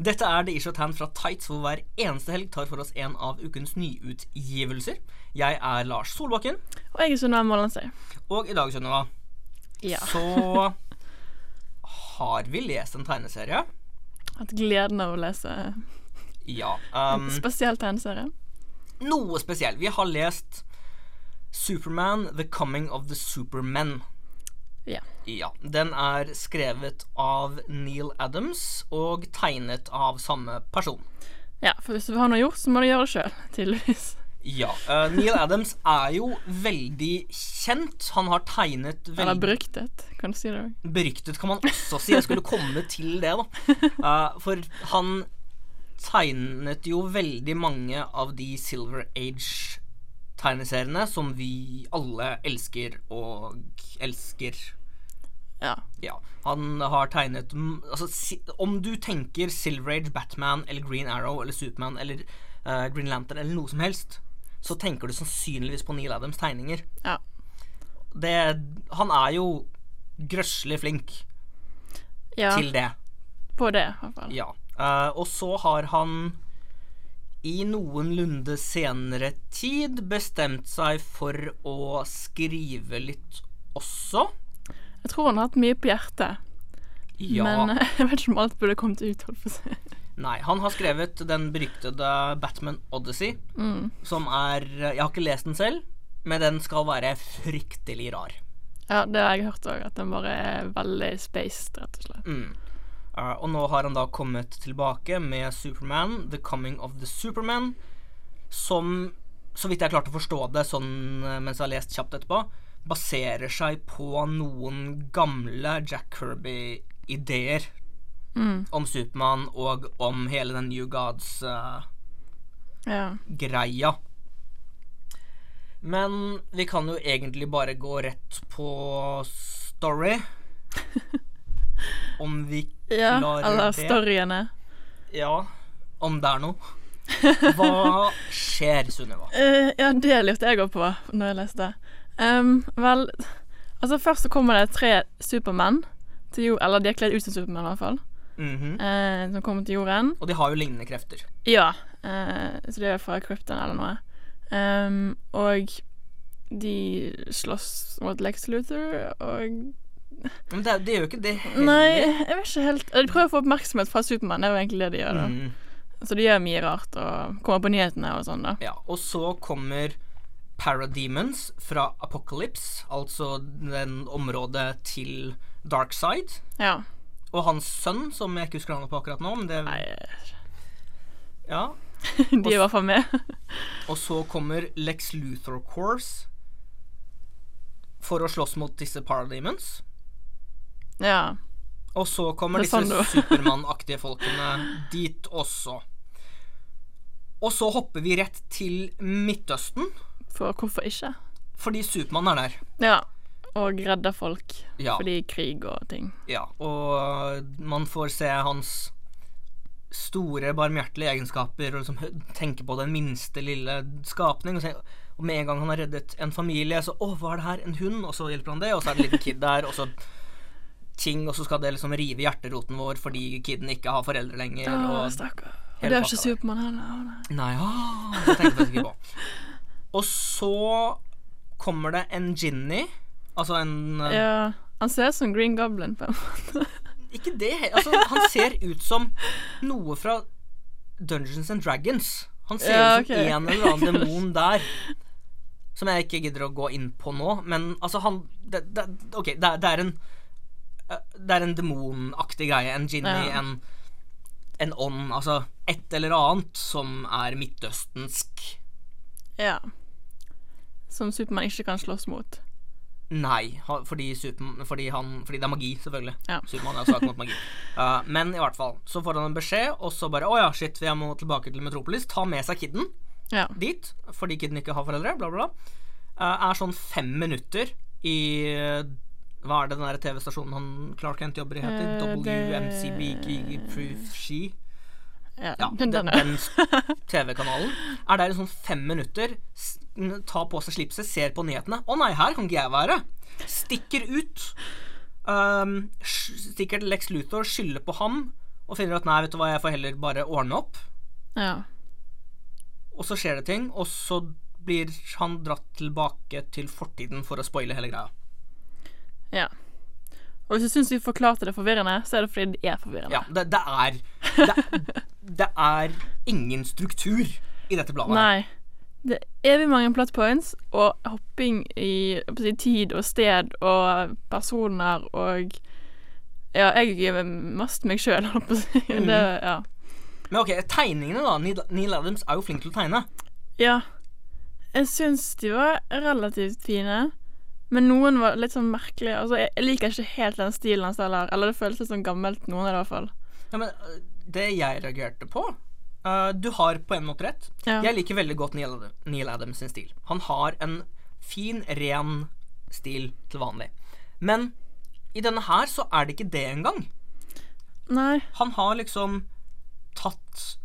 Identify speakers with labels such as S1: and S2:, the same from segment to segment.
S1: Dette er The Issue at Hand fra Tights, hvor hver eneste helg tar for oss en av ukens nyutgivelser. Jeg er Lars Solbakken,
S2: Og jeg er Sunniva Mollandsøy.
S1: og i dag, Sunniva,
S2: Ja.
S1: så har vi lest en tegneserie.
S2: Hatt gleden av å lese
S1: Ja. Um,
S2: spesielt tegneserie.
S1: noe spesiell. Vi har lest Superman, The Coming of the Supermen.
S2: Ja.
S1: Ja, Den er skrevet av Neil Adams og tegnet av samme person.
S2: ja. For hvis du vil ha noe gjort, så må du gjøre det sjøl, tydeligvis.
S1: Ja. eh, Neil Adams er jo veldig kjent. Han har tegnet
S2: Eller
S1: veldig
S2: bruktet, kan du si det òg.
S1: Beryktet kan man også si. Jeg skulle komme til det, da. Eh, for han tegnet jo veldig mange av de Silver Age-tegneseriene som vi alle elsker og elsker.
S2: Ja.
S1: Ja. Han har tegnet m- altså, si, Om du tenker Silver Age, Batman eller Green Arrow eller Superman eller eh, Green Lantern eller noe som helst, så tenker du sannsynligvis på Neil Adams tegninger.
S2: ja.
S1: Det, han er jo grøsselig flink
S2: Ja,
S1: til det.
S2: på det, i hvert fall.
S1: Ja. Eh, og så har han i noenlunde senere tid bestemt seg for å skrive litt også.
S2: Jeg tror han har hatt mye på hjertet,
S1: Ja.
S2: men eh, jeg vet ikke om alt burde kommet ut, holdt på å si.
S1: Nei, han har skrevet den beryktede Batman Odyssey,
S2: Mm.
S1: som er Jeg har ikke lest den selv, men den skal være fryktelig rar.
S2: Ja, det har jeg hørt òg, at den bare er veldig spaced, rett og slett.
S1: Mm. Eh, og nå har han da kommet tilbake med Superman, The Coming of the Superman, som, så vidt jeg klarte å forstå det sånn eh, mens jeg har lest kjapt etterpå, baserer seg på noen gamle Jack Kirby-ideer
S2: Mm.
S1: om Supermann og om hele den New Gods-greia.
S2: Ja.
S1: Men vi kan jo egentlig bare gå rett på story. Om vi
S2: ja.
S1: Klarer det.
S2: Eller storyene.
S1: Ja, om det er noe. Hva skjer, Sunniva?
S2: Eh, ja, det lurte jeg òg på når jeg leste. Um, vel, altså først så kommer det tre supermenn til jord... Eller de er kledd ut som supermenn, i hvert fall.
S1: Mhm.
S2: eh, som kommer til jorden.
S1: Og de har jo lignende krefter.
S2: Ja. eh, så de er fra krypten eller noe. Um, og de slåss mot Lex Luther og
S1: Men det, det gjør jo ikke det heller.
S2: Nei, jeg vet ikke helt De prøver å få oppmerksomhet fra Supermann, det er jo egentlig det de gjør. da.
S1: Mm,
S2: Så de gjør mye rart og kommer på nyhetene og sånn, da.
S1: ja. Og så kommer Parademons fra Apocalypse, altså den området til Darkside.
S2: Ja.
S1: Og hans sønn, som jeg ikke husker navnet på akkurat nå. Men det,
S2: Nei,
S1: ja.
S2: de er i hvert fall med.
S1: Og så kommer Lex Luthor Course for å slåss mot disse Parademons.
S2: ja.
S1: Og så kommer
S2: Det er
S1: disse
S2: sånn det var.
S1: Supermann-aktige folkene dit også. Og så hopper vi rett til Midtøsten,
S2: For hvorfor ikke?
S1: fordi Supermann er der.
S2: Ja. Og redder folk
S1: Ja,
S2: fordi krig og ting.
S1: ja. Og man får se hans store, barmhjertelige egenskaper og liksom hø- tenke på den minste lille skapning. Og, se, og med en gang han har reddet en familie, så 'Å, hva er det her? En hund?' Og så hjelper han det, og så er det en liten kid der, og så ting, og så skal det liksom rive hjerteroten vår fordi kiden ikke har foreldre lenger.
S2: Å,
S1: og
S2: stakkar. Og
S1: hele
S2: det er
S1: pakka
S2: ikke
S1: der.
S2: Supermann heller. Å, nei.
S1: Nei, ah, det tenkte jeg faktisk ikke på. Og så kommer det en Ginny. Altså en eh,
S2: Ja. Han ser ut som Green Goblin. på en måte.
S1: Ikke det he- altså, Han ser ut som noe fra Dungeons and Dragons. Han ser
S2: Ja,
S1: ut som
S2: ok.
S1: en eller annen demon der. Som jeg ikke gidder å gå inn på nå, men altså han det, det, Ok, det, er- det er en eh, Det er en demonaktig greie. En Ginny,
S2: Ja.
S1: en en ånd, altså et eller annet som er midtøstensk.
S2: Ja. Som Supermann ikke kan slåss mot.
S1: Nei, ha- fordi, Superman, fordi, han, fordi det er magi, selvfølgelig.
S2: Ja.
S1: Supermann er svak mot magi. Eh, men i hvert fall, så får han en beskjed, og så bare 'Å ja, shit, jeg må tilbake til Metropolis'. Ta med seg kiden
S2: Ja.
S1: dit, fordi kiden ikke har foreldre, bla, bla, bla. Eh, er sånn fem minutter i eh, Hva er det den der TV-stasjonen han Clark Kent jobber i, heter?
S2: Eh, det-
S1: WMCBG
S2: ja.
S1: ja, den,
S2: den, den,
S1: den s- TV-kanalen er der i sånn fem minutter. s- n- Tar på seg slipset, ser på nyhetene. 'Å nei, her kan ikke jeg være.' Stikker ut. Um, sk- stikker til Lex Luthor, skylder på ham. Og og finner at nei, vet du hva, jeg får heller bare ordne opp.
S2: Ja.
S1: Og så skjer det ting, og så blir han dratt tilbake til fortiden for å spoile hele greia.
S2: ja. Og hvis du syns vi forklarte det forvirrende, så er det fordi det er forvirrende.
S1: Ja, det, det er det, det er ingen struktur i dette bladet. her.
S2: Nei. Det er evig mange plot points og hopping i jeg holdt på å si, tid og sted og personer og Ja, jeg er mest meg sjøl, holdt på å si. Det, ja.
S1: Men ok, tegningene, da. Neil- Neil Adams er jo flink til å tegne.
S2: ja. Jeg syns de var relativt fine, men noen var litt sånn merkelige. Altså, jeg, jeg liker ikke helt den stilen hans heller. Eller det føles litt sånn gammelt, noen i hvert fall.
S1: Ja, men øh, Det jeg reagerte på øh, Du har på en måte rett.
S2: Ja.
S1: Jeg liker veldig godt Neil, Ad- Neil Adams sin stil. Han har en fin, ren stil til vanlig. Men i denne her så er det ikke det engang.
S2: Nei.
S1: Han har liksom tatt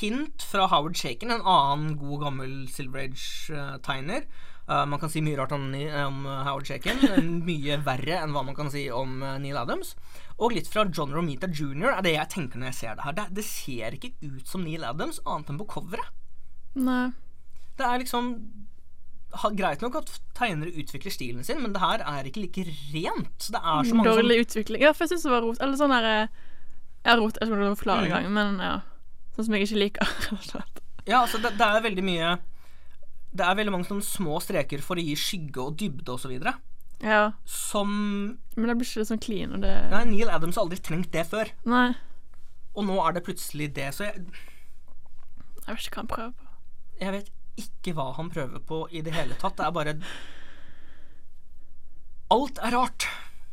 S1: hint fra Howard Shaken, en annen god, gammel Silver Age-tegner. Eh, man kan si mye rart om, Ni- om eh, Howard Shaken, men mye verre enn hva man kan si om eh, Neil Adams. Og litt fra John Romita jr. er det jeg tenker når jeg ser det her. Det, det ser ikke ut som Neil Adams, annet enn på coveret.
S2: Nei.
S1: Det er liksom ha, Greit nok at tegnere utvikler stilen sin, men det her er ikke like rent. Det er så mange som
S2: Dårlig utvikling. Ja, for jeg syns det var rot. Eller sånn der eh, Ja, rot. Jeg skulle forklare en
S1: Mm.
S2: gang, men ja. Sånn som jeg ikke liker. rett og slett.
S1: Ja, altså det, det er veldig mye Det er veldig mange sånne små streker for å gi skygge og dybde og så videre.
S2: ja.
S1: Som
S2: Men det blir ikke sånn clean, og det
S1: Nei, Neil Adams har aldri trengt det før.
S2: Nei.
S1: Og nå er det plutselig det, så jeg,
S2: Jeg vet ikke hva han prøver på.
S1: jeg vet ikke hva han prøver på i det hele tatt. Det er bare Alt er rart.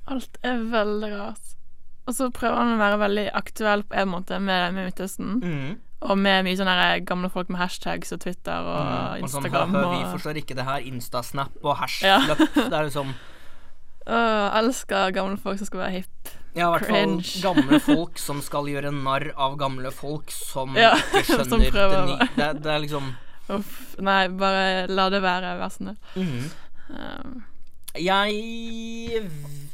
S2: Alt er veldig rart. Og så prøver han å være veldig aktuell på en måte med, med Midtøsten.
S1: Mm.
S2: Og med mye sånne her gamle folk med hashtags og Twitter og
S1: Og sånn,
S2: Ah, Instagram.
S1: «Haha,
S2: Og,
S1: Vi forstår ikke det her. Instasnap og
S2: Ja.
S1: hashtag. Det er liksom
S2: Åh, elsker gamle folk som skal være hipp.
S1: Ja, i hvert fall
S2: Cringe.
S1: gamle folk som skal gjøre narr av gamle folk som
S2: Ja,
S1: ikke
S2: som
S1: skjønner det
S2: prøver å-
S1: nye. Det, det er liksom
S2: Uff. Nei, bare la det være, vær så snill.
S1: Mhm.
S2: Um,
S1: Jeg v-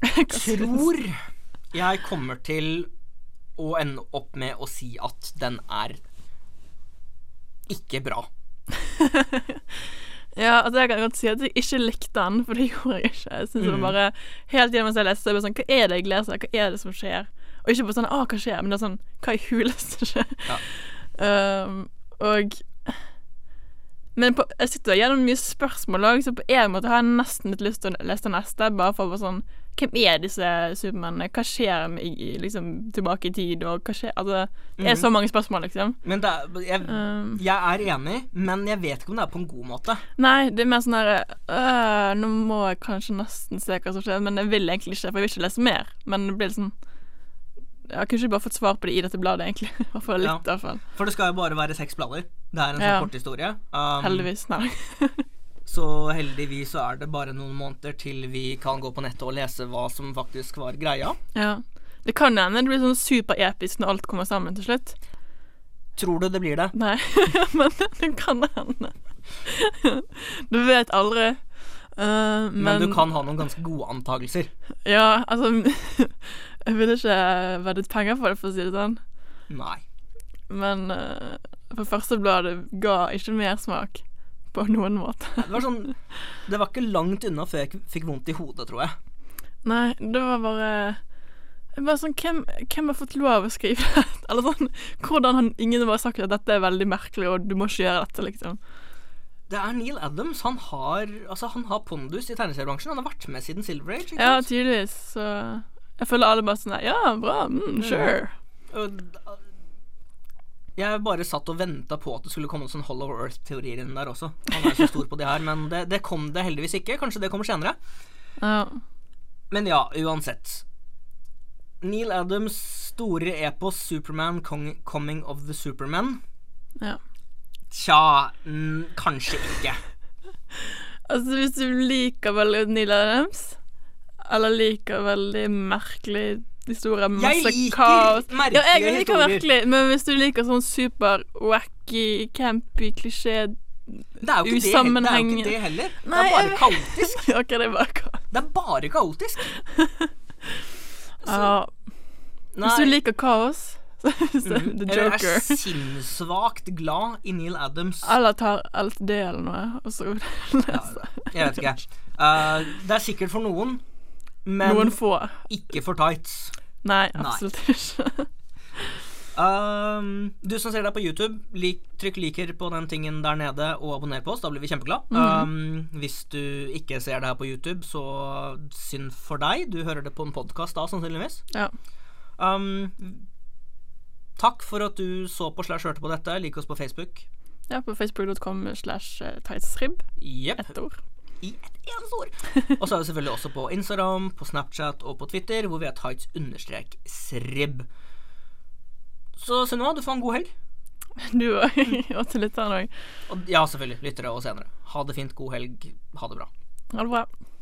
S2: hva synes-
S1: tror jeg kommer til å ende opp med å si at den er ikke bra.
S2: Ja, altså jeg kan godt si at jeg ikke likte den, for det gjorde jeg ikke. Jeg synes det var bare Helt gjennom mens jeg leste, så er jeg bare sånn Hva er det jeg leser? Hva er det som skjer? Og ikke bare sånn Å, hva skjer? Men det er sånn Hva i huleste skjer?
S1: Ja.
S2: Um, og Men på, jeg sitter jo gjennom mye spørsmål òg, så på en måte har jeg nesten litt lyst til å lese den neste, bare for å være sånn Hvem er disse supermennene? Hva skjer med, i- i- liksom, tilbake i tid, og hva skjer Altså, det er så mange spørsmål, liksom.
S1: Men det er, jeg,
S2: Um,
S1: jeg er enig, men jeg vet ikke om det er på en god måte.
S2: Nei, det er mer sånn derre øh, Nå må jeg kanskje nesten se hva som skjer, men jeg vil egentlig ikke, for jeg vil ikke lese mer. Men det blir litt sånn Jeg kunne ikke bare fått svar på det i dette bladet, egentlig. I hvert fall
S1: Ja. Um.
S2: litt, i hvert fall.
S1: For det skal jo bare være seks blader. Det er en sånn
S2: Ja.
S1: kort historie. Um,
S2: Heldigvis. Nei.
S1: Så heldigvis så er det bare noen måneder til vi kan gå på nettet og lese hva som faktisk var greia.
S2: Ja. Det kan hende det blir sånn superepisk når alt kommer sammen til slutt.
S1: Tror du det blir det?
S2: Nei, men det kan hende. Du vet aldri. Øh,
S1: Men, du kan ha noen ganske gode antakelser.
S2: Ja, altså Jeg ville ikke veddet penger på det, for å si det sånn.
S1: Nei.
S2: Men eh, for første bladet ga ikke mersmak på noen måte.
S1: Det var sånn Det var ikke langt unna før jeg fikk vondt i hodet, tror jeg.
S2: Nei, det var bare bare sånn, hvem, hvem har fått lov å skrive det? Eller sånn, hvordan har ingen bare sagt at dette er veldig merkelig, og du må ikke gjøre dette, liksom.
S1: Det er Neil Adams. Han har, altså, han har pondus i tegneseriebransjen. Han har vært med siden Silver Age. Ikke
S2: Ja,
S1: sant?
S2: tydeligvis. Så jeg føler alle bare sånn der, Ja, bra. Mm, sure.
S1: Og da- Jeg bare satt og venta på at det skulle komme sånn Hollow Earth-teorier inn der også. Han er så stor på det her, men det, det kom det heldigvis ikke. Kanskje det kommer senere.
S2: Ja.
S1: Men ja, uansett. Neil Adams store epos Superman Kong- Coming of the Superman.
S2: ja.
S1: Tja, mm, kanskje ikke.
S2: Altså, hvis du liker veldig Neil Adams, eller liker veldig merkelig historie med
S1: Jeg
S2: masse
S1: liker
S2: kaos
S1: merkelige
S2: ja, jeg liker
S1: historier.
S2: merkelig, men hvis du liker sånn super wacky, campy klisjé
S1: Det er jo ikke, det, heller- det, er jo
S2: Usammenhengende.
S1: ikke det heller.
S2: Nei,
S1: det er bare
S2: jeg-
S1: kaotisk.
S2: OK, det er bare kaos.
S1: Det er bare kaotisk.
S2: Ja. Ah, Hvis du liker kaos, så er det
S1: Mhm.
S2: The
S1: Eller
S2: Joker.
S1: er sinnssvakt glad i Neil Adams.
S2: Eller tar alt det eller noe, og så leser
S1: Jeg vet ikke. Eh, det er sikkert for noen, men
S2: noen få.
S1: ikke for tights.
S2: Nei,
S1: Nei.
S2: absolutt ikke.
S1: Um, du som ser deg på YouTube, lik, trykk liker på den tingen der nede og abonner på oss. Da blir vi kjempeglad. Um, hvis du ikke ser det her på YouTube, så synd for deg. Du hører det på en podkast da, sannsynligvis.
S2: Ja.
S1: Um, takk for at du så på slash hørte på dette. Lik oss på Facebook.
S2: ja, på facebook.com slash tightsrib.
S1: Jepp.
S2: Ett ord.
S1: I ett eneste ord. Og så er vi selvfølgelig også på Instagram, på Snapchat og på Twitter, hvor vi er tights-srib. Så Sunniva, du får en god helg.
S2: Du òg. Og til lytteren òg.
S1: Og, ja, selvfølgelig. Lyttere og senere. Ha det fint. God helg. Ha det bra.
S2: Ha det bra.